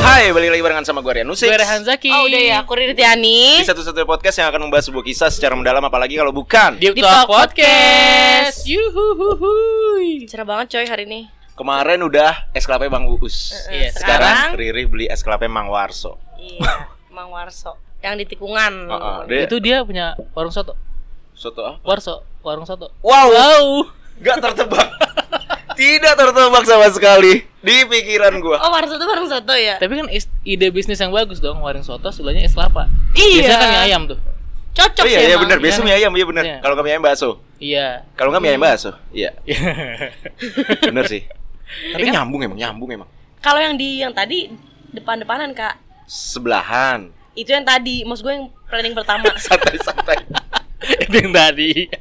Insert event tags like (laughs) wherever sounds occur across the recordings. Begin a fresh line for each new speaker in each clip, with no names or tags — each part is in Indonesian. Hai, balik lagi barengan sama gue Rian Nusik
Gue Rehan Zaki.
Oh udah ya, aku Riri Tiani
Di satu-satunya podcast yang akan membahas sebuah kisah secara mendalam Apalagi kalau bukan
Deep
Di
Talk
Talk Podcast.
Podcast. Yuhuhuhuy.
Cerah banget coy hari ini
Kemarin udah es kelapa Bang Uus
Eh,
Iya,
Sekarang
Sekarang
Riri beli es kelapa Mang Warso
Iya, Mang Warso Yang di tikungan
Heeh, dia-
Itu dia punya warung soto.
Soto ah? apa?
Warso, warung soto.
Wow,
Wow.
gak tertebak (laughs) Tidak tertebak sama sekali Di pikiran gue
Oh Warso itu warung soto ya?
Tapi kan is- ide bisnis yang bagus dong, warung soto sebelahnya es kelapa. Biasanya kan mie
Iya
ayam tuh.
Cocok
Oh
sih
iya, iya
emang.
bener, biasa mie
Iya.
ayam, iya bener
Iya.
Kalau gak mie ayam bakso
Iya.
Kalau gak mie
Hmm.
ayam bakso,
(laughs)
iya Bener sih Tapi
Iya kan?
nyambung emang, nyambung emang
Kalau yang di yang tadi depan-depanan kak
Sebelahan (laughs)
Itu yang tadi, maksud gue yang planning pertama
Santai-santai
(laughs)
(laughs)
Itu yang tadi.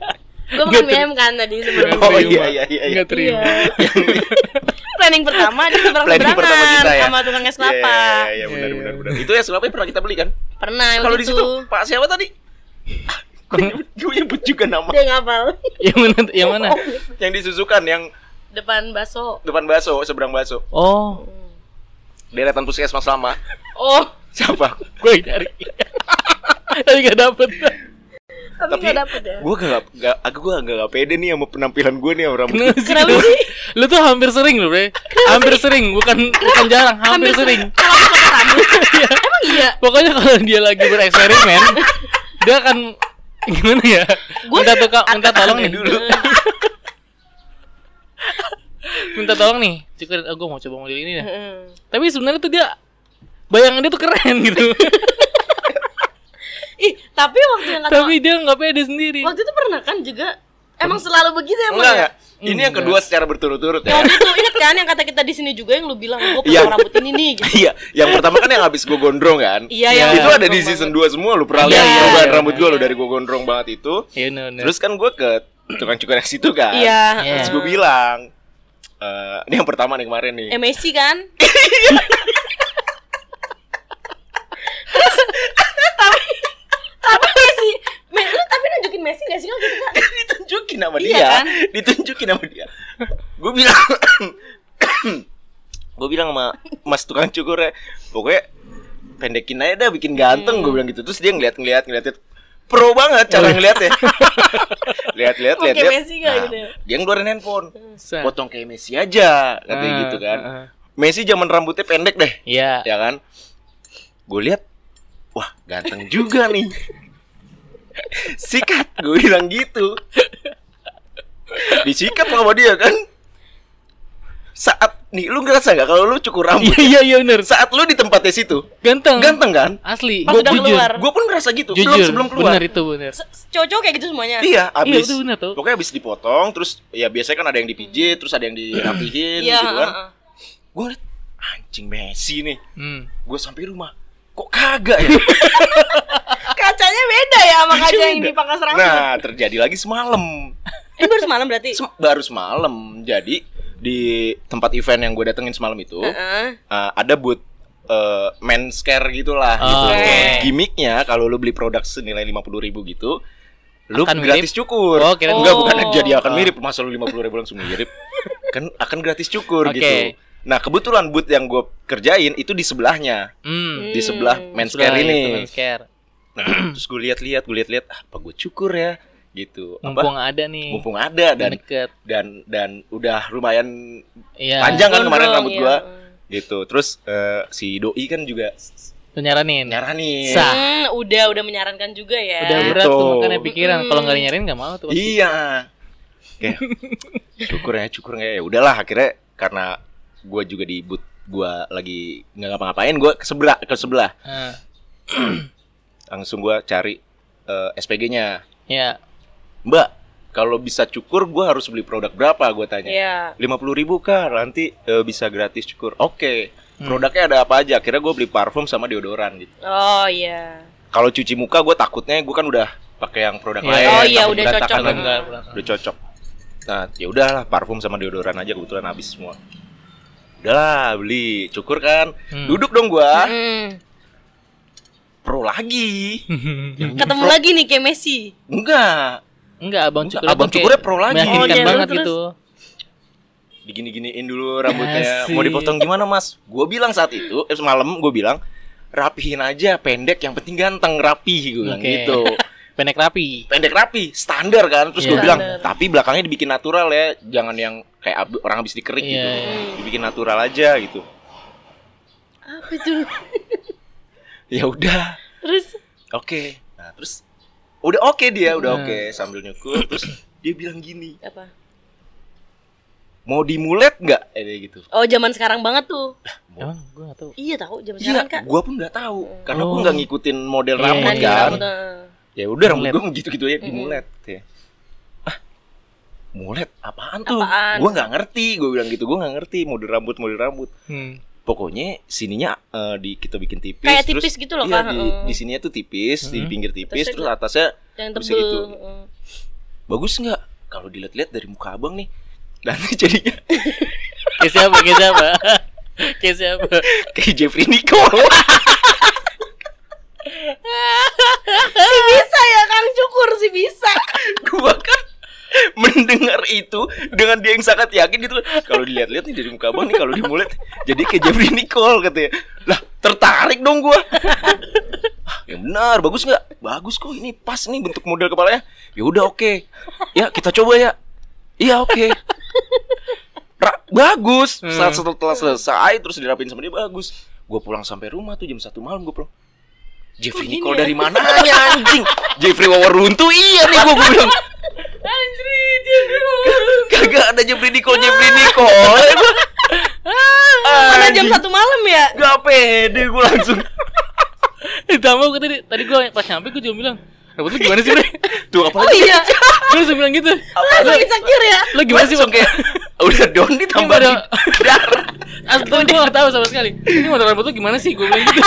Gue makan mie ayam kan tadi sebelum
Oh, iya, iya, iya, iya.
Enggak terima.
Iya. planning pertama di seberang
Planning pertama kita ya
sama tukang es kelapa.
Iya, iya, iya,
Iya,
benar
iya.
benar benar. Itu es kelapa yang pernah kita beli kan?
Pernah yang
Kalau di
gitu.
situ Pak siapa tadi? Ah, Gue nyebut, gue nyebut juga nama
dia ngapal
(laughs) yang mana? Yang mana?
yang disusukan yang
depan baso.
depan bakso, seberang bakso.
Oh,
Deretan puskesmas lama.
Oh, (laughs)
Siapa?
gue yang cari. Tapi gak dapet.
tapi
Tapi
nggak dapet ya.
gue gak, gak, aku gue gak, gak pede nih sama penampilan gue nih sama rambut.
Kenapa sih?
Kenapa sih?
Lu tuh hampir sering loh, Bre. Hampir sering, bukan bukan jarang, hampir sering.
(laughs) Kalau aku potong rambut. Emang iya.
Pokoknya kalau dia lagi bereksperimen, dia akan gimana ya?
Gua-
minta tukang, minta tolong nih.
dulu.
Minta tolong nih. Cukup, oh, gue mau coba model ini dah. Tapi sebenarnya tuh dia bayangan dia tuh keren (laughs) gitu.
Ih, tapi waktu yang kata
Tapi dia nggak pede sendiri.
waktu itu pernah kan juga emang selalu begitu
(laughs)
emang
Enggak
ya.
enggak. Ini yang kedua secara berturut-turut ya. (laughs)
Yang (laughs) waktu itu ingat kan yang kata kita di sini juga yang lu bilang gue
Iya.
potong rambut ini nih gitu.
Iya, yang pertama kan yang habis gue gondrong kan.
Iya,
Iya.
yang
Itu ada di
potong
season
rambut.
2 semua lu pernah
Iya,
lihat
iya,
perubahan
iya,
rambut gue
iya.
lu dari gue gondrong banget itu.
Ya, no, no.
Terus kan gue ke tukang cukur yang situ kan.
Nah. Iya.
Iya.
Terus gue bilang, eh, ini yang pertama nih kemarin nih.
MSC kan? tapi tapi Messi, Me, lu tapi nunjukin Messi gak sih kalau gitu kan?
(laughs) ditunjukin sama
Iya
dia,
kan?
ditunjukin sama dia. Gue bilang, (coughs) gue bilang sama mas tukang cukurnya, pokoknya pendekin aja dah bikin ganteng
Hmm.
gue bilang gitu terus dia ngeliat ngeliat ngeliat ngeliat. pro banget cara ngeliatnya lihat lihat lihat
Oke,
lihat
Messi nggak gitu ya?
Nah, dia ngeluarin handphone
Sa-
potong kayak Messi aja katanya
Ah,
gitu kan
ah, ah.
Messi zaman rambutnya pendek deh
Iya.
ya kan gue lihat wah ganteng juga nih sikat gue bilang gitu disikat sama dia kan saat nih lu ngerasa nggak kalau lu cukur
Iya,
rambut
iya, iya bener.
saat lu di tempatnya situ
Ganteng.
ganteng kan
Asli.
Pas
Gua
udah
jujur.
keluar.
gue pun ngerasa gitu
Jujur.
belum sebelum keluar
Bener itu bener.
Se- Cowok-cowok kayak gitu semuanya.
iya
Iya,
abis
itu bener tuh.
pokoknya abis dipotong terus ya biasanya kan ada yang dipijit terus ada yang dirapihin
Iya,
gitu kan
heeh.
gue liat anjing Messi nih
Hmm.
gue sampai rumah kok kagak
(laughs)
ya
Kacanya beda ya sama kaca yang
Iya Beda.
dipakai serangga.
Nah, terjadi lagi semalam.
Ini baru semalam berarti.
Sem- baru semalam. Jadi di tempat event yang gue datengin semalam itu
Heeh.
uh, ada booth uh, men's care gitulah
Oh,
gitu.
oke.
Gimiknya kalau lu beli produk senilai 50.000 ribu gitu lu
Akan
gratis cukur.
Oh, kirain-
Enggak
Oh.
bukan jadi akan
Oh.
mirip masa lu 50.000 langsung
(laughs)
mirip. kan akan gratis cukur
Oke.
gitu. Nah, kebetulan booth yang gue kerjain itu di sebelahnya,
Hmm.
di sebelah men's
Sudah
care ini.
itu, men's care.
Nah, (clears throat) terus gue lihat-lihat, gue lihat-lihat, ah, apa gue cukur ya gitu. Apa
Mumpung ada nih.
mumpung ada dan
deket.
dan dan udah lumayan
Iya.
panjang kan kemarin
Gondrong,
rambut
iya.
gua gitu terus eh, si doi kan juga
Lu nyaranin.
nyaranin
Sa-
Hmm, udah udah menyarankan juga ya.
Udah berat tuh
Gitu.
makanya pikiran.
Mm-mm.
Kalau nggak nyariin nggak mau tuh. pasti.
iya Oke. cukur ya cukur nggak ya udahlah akhirnya karena gua juga di but gua lagi nggak ngapa-ngapain gua ke sebelah ke sebelah
Ah,
langsung gua cari eh, SPG-nya
Iya.
mbak kalau bisa cukur gua harus beli produk berapa gua tanya
Iya.
lima puluh ribu kah nanti eh, bisa gratis cukur oke
Hmm.
produknya ada apa aja akhirnya gue beli parfum sama deodoran gitu
Oh iya.
kalau cuci muka gue takutnya gue kan udah pakai yang produk
Iya.
lain
Oh,
iya,
takut
udah
berantakan
cocok.
lagi.
Enggak,
udah cocok nah ya udahlah parfum sama deodoran aja kebetulan habis semua udahlah beli cukur kan
Hmm. (laughs)
duduk dong gue
Hmm.
pro lagi
Ketemu lagi nih kayak Messi.
enggak
Enggak, abang
Enggak,
cukurnya
abang
tuh kayak
cukurnya pro lagi.
Meyakinkan gitu.
Oh, iya,
banget
terus.
gitu.
digini-giniin dulu rambutnya
Asik.
mau dipotong gimana mas gue bilang saat itu eh, semalam gue bilang rapihin aja pendek yang penting ganteng rapi gue bilang
Oke.
gitu
Pendek rapi.
pendek rapi standar kan terus gue
Iya.
bilang
Standar.
tapi belakangnya dibikin natural ya jangan yang kayak ab- orang habis dikerik
Iya,
gitu
iya.
dibikin natural aja gitu
Apa tuh?
ya udah
Terus
oke nah terus udah oke dia udah
Nah.
oke sambil nyukur terus dia bilang gini
apa?
mau dimulet nggak eh dia gitu
Oh, zaman sekarang banget tuh.
Emang gue gak tahu.
Iya tahu zaman
Iya,
sekarang Kak. gitu,
gue pun nggak tahu karena gue
Oh.
nggak ngikutin model
Iya,
rambut
iya,
kan.
iya.
Ya udah rambut
Mulet.
gue gitu-gitu aja
Mm-mm.
dimulet. Ya. Ah, mulet apaan tuh?
Apaan?
Gue nggak ngerti. Gue bilang gitu, gue nggak ngerti model rambut model rambut.
Hmm.
Pokoknya sininya eh, di kita bikin tipis.
Kayak tipis gitu loh,
iya,
Kak.
di,
Heeh.
di sininya tuh tipis, di
Mm-mm.
pinggir tipis,
Terus
terus, atasnya Bisa
Yang tebel. Hmm.
gitu.
Heeh.
bagus nggak? Kalau dilihat-lihat dari muka abang nih, (laughs) dan jadinya (laughs)
Kayak siapa? Kayak siapa? (laughs) Kayak siapa?
kayak Jeffrey Nicole.
Sih bisa ya Kang Cukur sih bisa.
gua kan mendengar itu dengan dia yang sangat yakin gitu kalau dilihat-lihat nih dari muka abang nih kalau dimulet jadi kayak Jeffrey Nicole katanya lah tertarik dong gua Ah, ya benar bagus nggak bagus kok ini pas nih bentuk model kepalanya ya udah oke ya kita coba ya iya oke Ra- bagus
Hmm.
saat setelah selesai terus dirapin sama dia bagus gua pulang sampai rumah tuh jam satu malam gua pulang Jeffrey
Kok gini
Nicole
ya?
dari mana anjing Jeffrey Wawaruntu iya nih gua, gua bilang
Anjir, jadi
Kagak ada Jeffrey Nicole Jeffrey Nicole Gua
Ah.
Mana
Ah,
jam
Anjing.
satu malam ya?
Gak pede gue langsung
Ditambah gue tadi tadi gue pas nyampe gue juga bilang rambut (laughs) lu gimana sih bre?
Tuh apa
Oh iya.
Gue langsung bilang gitu.
Langsung insecure ya.
Lo gimana sih bang?
kayak Udah down ditambah
Ini
di- darah
Asli gue gak tahu sama sekali. Ini model rambut lu gimana sih? Gue bilang
(laughs)
gitu.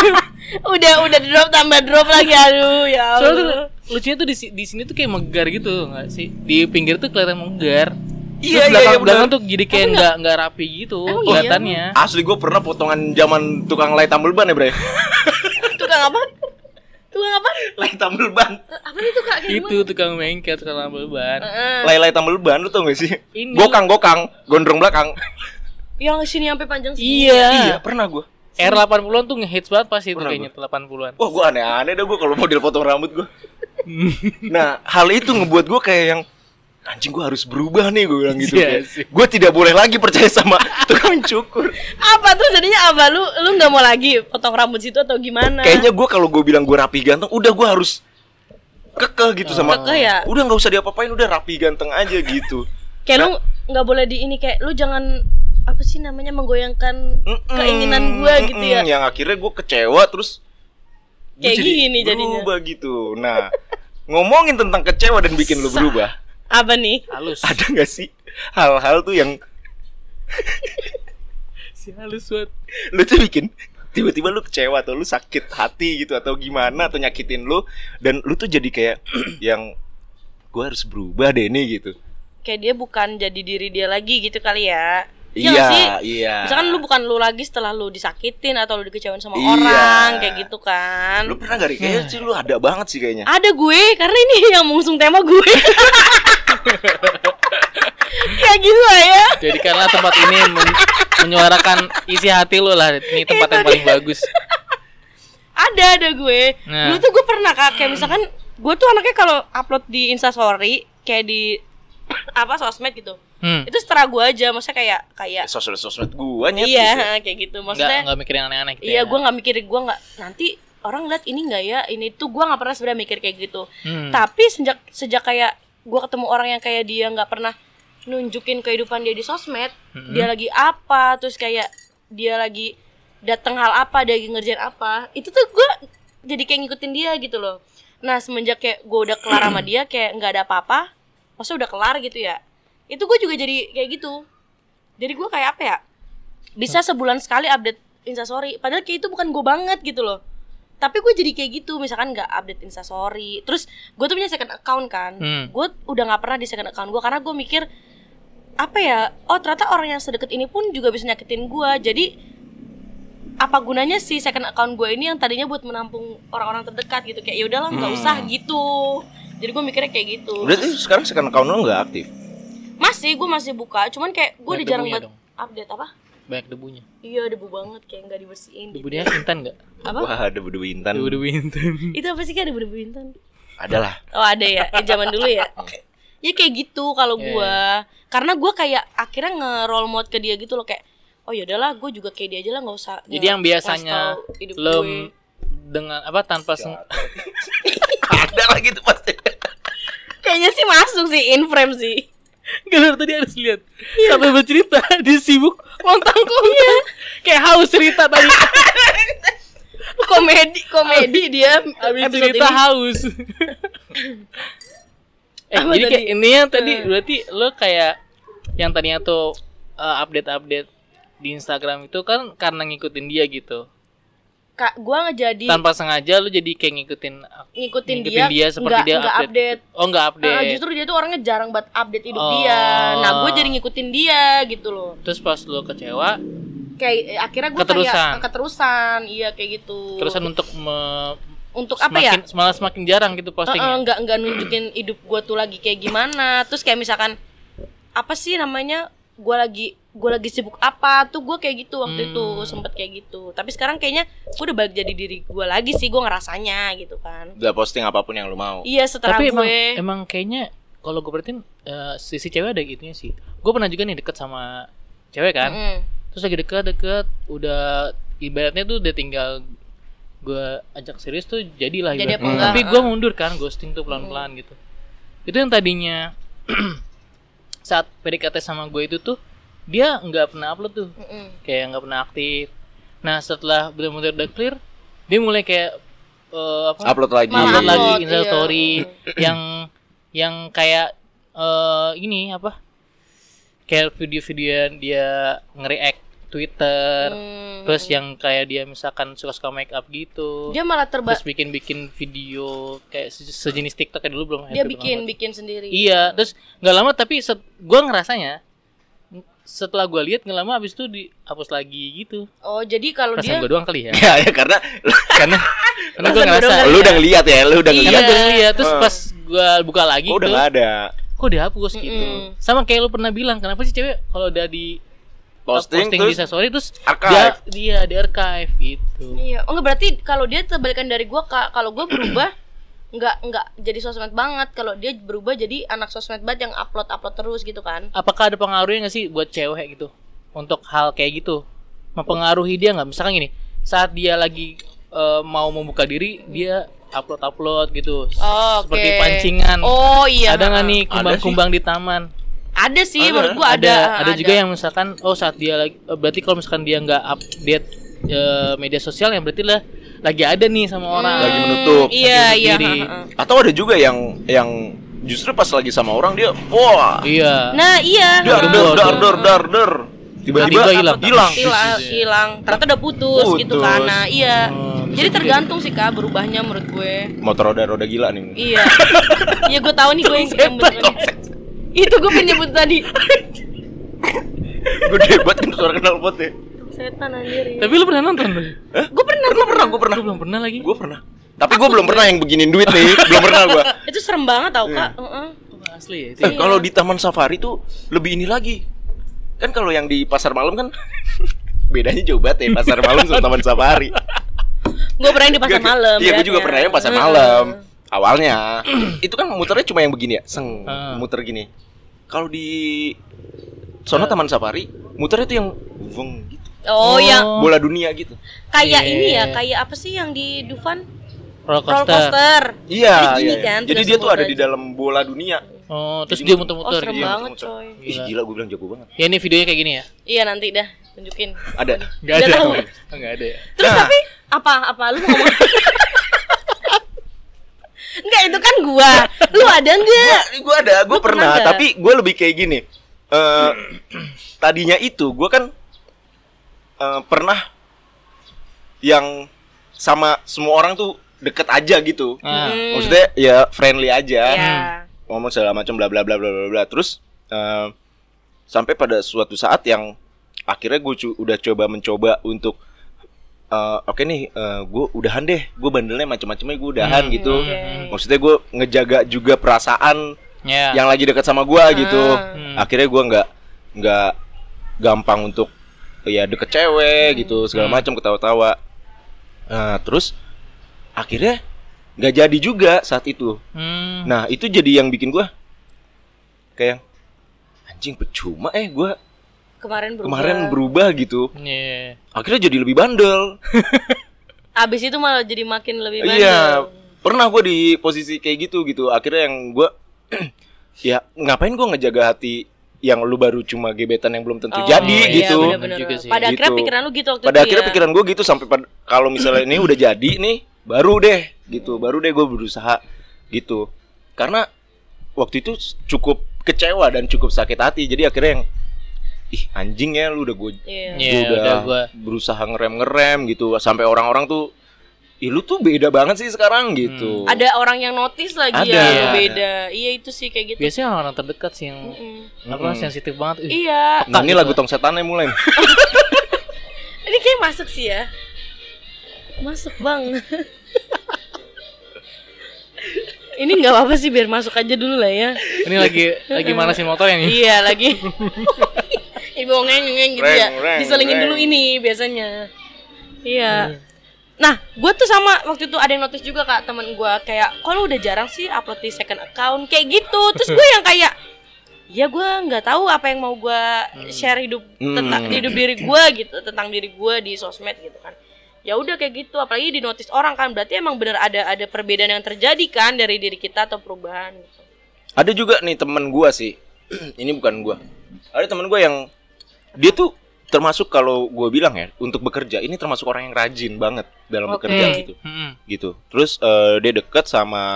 Udah udah drop tambah drop lagi aduh ya
Soalnya tuh
Allah.
lucunya tuh di, si- di sini tuh kayak menggar gitu nggak sih? Di pinggir tuh kelihatan menggar.
Iya, iya,
Terus belakang,
iya, benar.
belakang tuh jadi kayak nggak nggak rapi gitu
Emang iya,
kelihatannya.
Asli gue pernah potongan zaman tukang lay tambel ban ya
(laughs)
bre
Tukang apa? Tukang apa?
Lay tambel ban
Apa itu Kak? Kayak
Itu tukang bengkel, tukang tambal ban.
Heeh.
Lay-lay tambel ban lu tau gak sih
Ini.
Gokang gokang Gondrong belakang
Yang sini sampai panjang sini.
Iya
Iya.
pernah gue
R 80-an tuh ngehits banget pas itu
Pernah
kayaknya 80-an.
Wah gue aneh-aneh dah gue kalau model potong rambut gue Nah hal itu ngebuat gue kayak yang Anjing gue harus berubah nih gue bilang gitu
Iya
Kayak,
sih.
Gue tidak boleh lagi percaya
(laughs)
sama tukang cukur
Apa tuh jadinya apa lu lu nggak mau lagi potong rambut situ atau gimana?
Kayaknya gue kalau gue bilang gue rapi ganteng, udah gue harus kekeh gitu sama.
Kekeh ya?
Udah nggak usah diapa-apain, udah rapi ganteng aja gitu.
kayak lu nggak boleh di ini kayak lu jangan apa sih namanya menggoyangkan
Mm-mm,
keinginan gue
mm-mm,
gitu ya.
Yang akhirnya gue kecewa terus. gua
Kayak
jadi
gini jadinya.
Berubah gitu. Nah, ngomongin tentang kecewa dan bikin lu berubah,
Apa nih?
Halus.
ada nggak sih hal-hal tuh yang
Si halus banget.
lu tuh bikin tiba-tiba lu kecewa atau lu sakit hati gitu atau gimana atau nyakitin lu dan lu tuh jadi kayak (clears throat) yang gue harus berubah deh nih gitu.
Kayak dia bukan jadi diri dia lagi gitu kali ya. Iya
Iya,
nggak sih?
iya.
Misalkan lu bukan lu lagi setelah lu disakitin atau lu dikecewain sama
Iya.
orang kayak gitu kan.
Lu pernah gak Ri? Kayaknya sih lu ada banget sih kayaknya
Ada gue karena ini (laughs) yang mengusung tema
(laughs)
gue. kayak gitu lah ya.
Jadikanlah tempat ini men- menyuarakan isi hati lu lah. Ini tempat yang paling bagus.
Ada ada gue.
Nah.
Dulu tuh gue pernah kak kayak misalkan gue tuh anaknya kalau upload di Instastory kayak di apa sosmed gitu.
Hmm.
Itu setera gue aja, maksudnya kayak kayak
Sosmed sosmed gua nyet gitu.
iya (laughs) kayak
ya?
gitu
Nggak
maksudnya.
nggak mikir yang aneh-aneh gitu.
Iya,
ya.
gue nggak mikir gue nggak nanti orang lihat ini nggak ya ini tuh gue nggak pernah sebenarnya mikir kayak gitu.
Hmm.
Tapi sejak sejak kayak gue ketemu orang yang kayak dia nggak pernah nunjukin kehidupan dia di sosmed,
Mm-mm.
dia lagi apa, terus kayak dia lagi datang hal apa, dia lagi ngerjain apa, itu tuh gue jadi kayak ngikutin dia gitu loh. Nah semenjak kayak gue udah kelar sama dia kayak nggak ada apa-apa, maksudnya udah kelar gitu ya, itu gue juga jadi kayak gitu. Jadi gue kayak apa ya? Bisa sebulan sekali update instastory, padahal kayak itu bukan gue banget gitu loh. Tapi gue jadi kayak gitu, misalkan nggak update instastory, terus gue tuh punya second account kan,
Hmm.
gue udah nggak pernah di second account gue karena gue mikir apa ya oh ternyata orang yang sedekat ini pun juga bisa nyakitin gue jadi apa gunanya sih second account gue ini yang tadinya buat menampung orang-orang terdekat gitu kayak ya udahlah nggak
Hmm.
usah gitu jadi gue mikirnya kayak gitu
Berarti sekarang sekarang account lu gak aktif
masih masih gue masih buka cuman kayak gue udah
Banyak
jarang
debunya
banget
dong.
update apa
Banyak debunya.
iya debu banget kayak nggak dibersihin
Debunya intan enggak?
apa
Wah, ada debu intan.
Debu-debu intan.
itu apa sih kayak debu debu intan
Adalah.
oh ada ya Eh, zaman dulu
(laughs)
ya ya kayak gitu kalau
Iya,
gue karena gue kayak akhirnya nge-roll mode ke dia gitu loh kayak oh ya udahlah gue juga kayak dia aja lah nggak usah
Jadi yang biasanya lo
lem
dengan apa tanpa seng-
(laughs) ada lagi tuh pasti.
kayaknya sih masuk sih in frame sih (laughs)
Gelar tadi harus lihat.
Iya.
Sampai bercerita (laughs) dia sibuk lontang lontang. Kayak haus cerita tadi.
(laughs) komedi komedi dia
Habis
episode
cerita
ini.
haus. eh,
(laughs) Apa
jadi kayak
tadi?
ini yang tadi
Eh.
berarti lo kayak yang tadinya tuh eh, update-update di Instagram itu kan karena ngikutin dia gitu.
kak gue ngejadi
Tanpa sengaja lo jadi kayak ngikutin
Iya.
ah,
ngikutin,
ngikutin dia, seperti
nggak-
dia
nggak
update.
update.
Oh, enggak update.
Ah, justru dia tuh orangnya jarang banget update hidup
Oh.
dia. Nah, gue jadi ngikutin dia gitu loh.
Terus pas lo kecewa,
Kayak eh, akhirnya gue
Keterusan.
kayak eh, keterusan, iya kayak gitu.
terusan untuk me-
untuk apa ya?
semakin malah semakin jarang gitu
Eh, eh,
postingnya.
nggak nggak nunjukin hidup gue tuh lagi kayak gimana. Terus kayak misalkan apa sih namanya? Gue lagi gue lagi sibuk apa tuh gue kayak gitu waktu itu
Hmm.
sempet kayak gitu. Tapi sekarang kayaknya gue udah balik jadi diri gue lagi sih gue ngerasanya gitu kan.
Udah posting apapun yang lu mau.
Iya setelah
Tapi
gue.
emang emang kayaknya kalau gue perhatiin eh, sisi cewek ada gitunya sih. Gue pernah juga nih deket sama cewek kan.
Mm-mm.
terus lagi deket-deket udah ibaratnya tuh udah tinggal gue ajak serius tuh jadilah
Jadi apa
ibaratnya.
enggak,
tapi
ah.
gue mundur kan ghosting tuh pelan-pelan gitu itu yang tadinya (clears throat) saat PDKT sama gue itu tuh dia nggak pernah upload tuh
Mm-mm.
kayak nggak pernah aktif nah setelah benar-benar udah clear dia mulai kayak eh, apa
Upload lagi.
Malah
upload lagi
upload,
Insta
iya.
story yang yang kayak eh ini apa kayak video-video dia nge-react Twitter
Mm.
terus yang kayak dia misalkan suka-suka make up gitu
Dia malah terba
terus bikin-bikin video kayak se- sejenis TikTok kayak dulu belum
dia
hype itu
bikin
banget.
bikin sendiri
iya terus nggak lama tapi set, gua ngerasanya setelah gua lihat nggak lama abis itu dihapus lagi gitu
oh jadi kalau
perasaan
dia
gua doang kali ya
Ya, ya karena
karena karena gua
Perasaan gua
ngerasa
doang
lu udah ngeliat ya, lu udah
Iya. Gitu.
karena
ngeliat.
gue lihat terus
Eh.
pas gue buka lagi
Kok udah
tuh,
nggak ada
kok dihapus gitu
Mm-mm.
sama kayak lu pernah bilang kenapa sih cewek kalau udah di uh,
posting,
di
terus
story terus
archive.
dia dia di archive gitu
iya oh nggak berarti kalau dia terbalikan dari gua Kak. kalau gua berubah (clears throat) nggak nggak jadi sosmed banget kalau dia berubah jadi anak sosmed banget yang upload upload terus gitu kan
apakah ada pengaruhnya nggak sih buat cewek gitu untuk hal kayak gitu mempengaruhi dia nggak misalkan gini saat dia lagi eh, mau membuka diri dia upload upload gitu S-
Oh, oke.
seperti pancingan
oh iya
ada nggak
ha-ha.
nih kumbang-kumbang di taman
ada sih
Ada.
menurut gua ada
ada,
ha,
juga yang misalkan oh saat dia lagi eh, berarti kalau misalkan dia nggak update eh, media sosial yang berarti lah lagi ada nih sama
Hmm.
orang gitu.
Lagi menutup.
iya
Lagi
iya
berdiri.
ha-ha.
atau ada juga yang yang justru pas lagi sama orang dia wah
iya
nah iya
dar
ha-ha.
dar dar dar dar dar tiba-tiba
Tiba-tiba hilang.
hilang
hilang
Iya.
Iya. hilang ternyata udah putus, gitu
Putus.
kan nah iya
Oh, bisa
jadi
juga.
tergantung sih kak berubahnya menurut gue
motor roda-roda gila nih
(laughs)
Iya. Iya gue tahu nih gue yang yang bener tadi. Itu gue pengen nyebut tadi.
(laughs) gede banget kan suara kenal pot ya
Setan anjir. ya.
tapi lu pernah nonton lu
Gue pernah
gue pernah gue pernah
Lu belum pernah lagi
gue pernah tapi gue belum pernah yang beginin duit nih belum pernah gue
(laughs) itu serem banget
Iya.
tau kak. Heeh.
asli ya itu
Eh, kalau di taman safari tuh lebih ini lagi. Kan kalau yang di pasar malam kan (laughs) bedanya jauh banget ya pasar malam sama taman safari.
Gue pernah yang di pasar
Gua-
malam. kan, ya
Iya, gue
beratnya.
juga pernah yang pasar
Heeh.
malam. Awalnya itu kan muternya cuma yang begini ya, seng
Ah.
muter gini. Kalau di
Ah.
sono taman safari, muternya tuh yang weng gitu.
Oh, yang
Bola dunia gitu.
kayak ini ya,
Iya.
kayak apa sih yang di Dufan?
roller
Roller
coaster,
coaster.
Iya,
Jadi
iya.
gini kan,
Jadi
terus
dia tuh
muter
ada di
aja.
dalam bola dunia.
oh terus
Jadi
dia
muter.
Oh,
muter-muter
serem
gitu.
Iya,
banget,
muter.
coy.
Ih,
Gila.
gila gue bilang jago banget.
ya ini videonya kayak gini ya
Iya, nanti dah tunjukin.
Ada.
nggak
Udah
ada
tahu.
nggak ada ya
Terus
Nah.
tapi apa apa (laughs) lu ngomong Enggak, itu kan gua. Lu ada enggak?
gue ada, gue
Lu pernah
pernah,
nggak?
tapi gue lebih kayak gini. Eh, (clears throat) tadinya itu gue kan eh, pernah yang sama semua orang tuh deket aja gitu.
Ah.
Hmm.
Maksudnya ya friendly aja,
Iya.
ngomong segala macam bla bla bla bla bla bla. Terus eh, sampai pada suatu saat yang akhirnya gue udah coba mencoba untuk eh, oke nih, gue udahan deh, gue bandelnya macam-macamnya gue udahan
Hmm.
gitu.
Oke.
Maksudnya gue ngejaga juga perasaan
Ya.
yang lagi dekat sama gua gitu
Hmm.
akhirnya gua nggak nggak gampang untuk ya deket cewek gitu segala
Hmm.
macam ketawa-tawa nah terus akhirnya nggak jadi juga saat itu
Hmm.
nah itu jadi yang bikin gua kayak anjing percuma eh gua
Kemarin berubah.
kemarin berubah gitu
Iya.
akhirnya jadi lebih bandel
Abis itu malah jadi makin lebih banyak.
Iya, pernah gue di posisi kayak gitu gitu. Akhirnya yang gue, (clears throat) ya ngapain gue ngejaga hati yang lu baru cuma gebetan yang belum tentu
Oh,
jadi
iya,
gitu.
bener-bener.
Juga sih.
Pada akhirnya
Gitu.
pikiran lu gitu waktu
Pada
itu
akhirnya
ya.
pikiran gue gitu sampai pad- kalau misalnya ini udah jadi nih, baru deh gitu, baru deh gue berusaha gitu. Karena waktu itu cukup kecewa dan cukup sakit hati. Jadi akhirnya yang ih anjing ya lu udah gue
Iya,
Iya.
Gua udah,
udah gua.
berusaha ngerem-ngerem gitu sampai orang-orang tuh Ih lu tuh beda banget sih sekarang
Hmm.
gitu.
Ada orang yang notice lagi
Ada,
ya,
iya.
lu beda. Iya itu sih kayak gitu.
Biasanya orang-orang terdekat sih yang
Mm.
apa
Mm-mm.
sensitif banget. Ih,
Iya.
Nah, ini
gitu
lagu
lah.
tong setannya mulai. nih.
Ini kayak masuk sih ya. Masuk bang. (laughs) Ini nggak apa-apa sih biar masuk aja dulu lah ya.
Ini lagi lagi manasin motor ya yang ini.
iya lagi. (laughs) Ibu ngeng ngeng gitu ya.
Reng, reng,
Diselingin
reng.
dulu ini biasanya. Iya. Nah, gue tuh sama waktu itu ada yang notice juga kak temen gue kayak, kok lu udah jarang sih upload di second account kayak gitu. Terus gue yang kayak, ya gue nggak tahu apa yang mau gue share hidup
Hmm.
tentang hidup diri gue gitu, tentang diri gue di sosmed gitu kan. Ya udah kayak gitu, apalagi di notice orang kan berarti emang bener ada ada perbedaan yang terjadi kan dari diri kita atau perubahan. Gitu.
Ada juga nih teman gua sih. (clears throat) ini bukan gua. Ada teman gua yang dia tuh termasuk kalau gua bilang ya untuk bekerja ini termasuk orang yang rajin banget dalam
Oke.
bekerja gitu.
Mm-mm.
Gitu. Terus eh, dia deket sama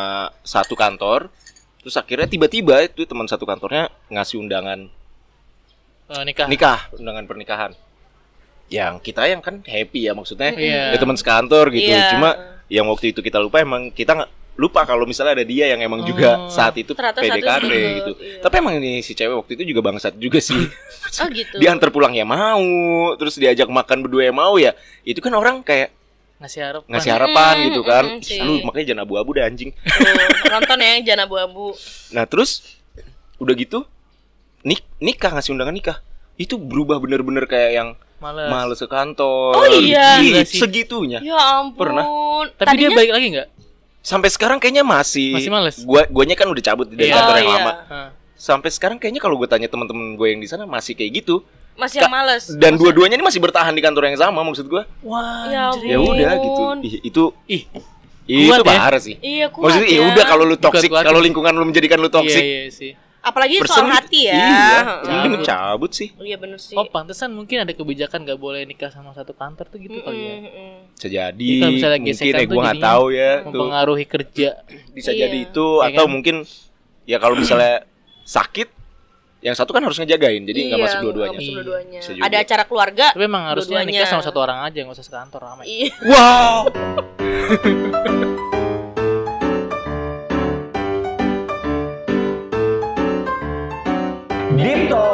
satu kantor. Terus akhirnya tiba-tiba itu teman satu kantornya ngasih undangan
Eh, nikah.
nikah, undangan pernikahan. Yang kita yang kan happy ya maksudnya.
Iya.
Ya teman sekantor gitu.
Iya.
Cuma yang waktu itu kita lupa emang kita nggak lupa kalau misalnya ada dia yang emang juga
Oh.
saat itu
Ternyata saat itu
PDKT
juga,
gitu.
iya.
Tapi emang ini si cewek waktu itu juga bangsat juga sih.
Oh gitu.
Diantar pulang ya mau, terus diajak makan berdua ya mau ya. Itu kan orang kayak
Ngasih harap.
ngasih harapan
Mm,
gitu
mm,
kan.
mm, sih.
Lu makanya jangan abu-abu dah anjing.
Tuh, nonton ya jangan abu-abu.
Nah terus udah gitu nik nikah ngasih undangan nikah itu berubah bener-bener kayak yang
Males.
males ke kantor.
Oh, iya.
Ih,
Gila sih.
segitunya.
Ya
Iya.
ampun.
Pernah.
Tapi dia baik lagi nggak?
Sampai sekarang kayaknya masih
Masih males.
Gua guanya kan udah cabut dari
Iya.
kantor yang
Oh, iya.
lama.
Hah.
sampai sekarang kayaknya kalau gue tanya teman-teman gue yang di sana masih kayak gitu
masih yang males.
dan dua-duanya ini masih bertahan di kantor yang sama maksud gue
Wah.
Ya
ya
anjir.
udah gitu Ih, itu
Ih,
itu
Kuat ya.
parah sih
Iya kuat
maksudnya ya udah kalau lu
Bukan
toksik
kuat. ya.
kalau lingkungan lu menjadikan lu toksik
Iya, iya sih.
apalagi soal
berselit.
hati ya.
(laughs)
iya
Heeh.
mending
Cabut.
cabut sih
Iya bener sih.
Oh, pantesan mungkin ada kebijakan nggak boleh nikah sama satu kantor tuh gitu
Mm-mm,
kali ya.
mm-mm.
bisa jadi
Jadi kalau misalnya
mungkin
gesekan
ya
tuh
gue nggak
jadinya
tahu ya tuh
Mempengaruhi kerja.
bisa
Iya.
jadi itu
Ya
atau
kan?
mungkin ya kalau
(clears throat)
misalnya sakit yang satu kan harus ngejagain jadi nggak
Iya,
masuk dua-duanya
nggak masuk
Iya.
dua-duanya.
Bisa juga.
Ada acara keluarga.
Tapi emang harusnya
Dua-duanya.
nikah sama satu orang aja, nggak usah sekantor ramai.
Iya.
wow Deep Talk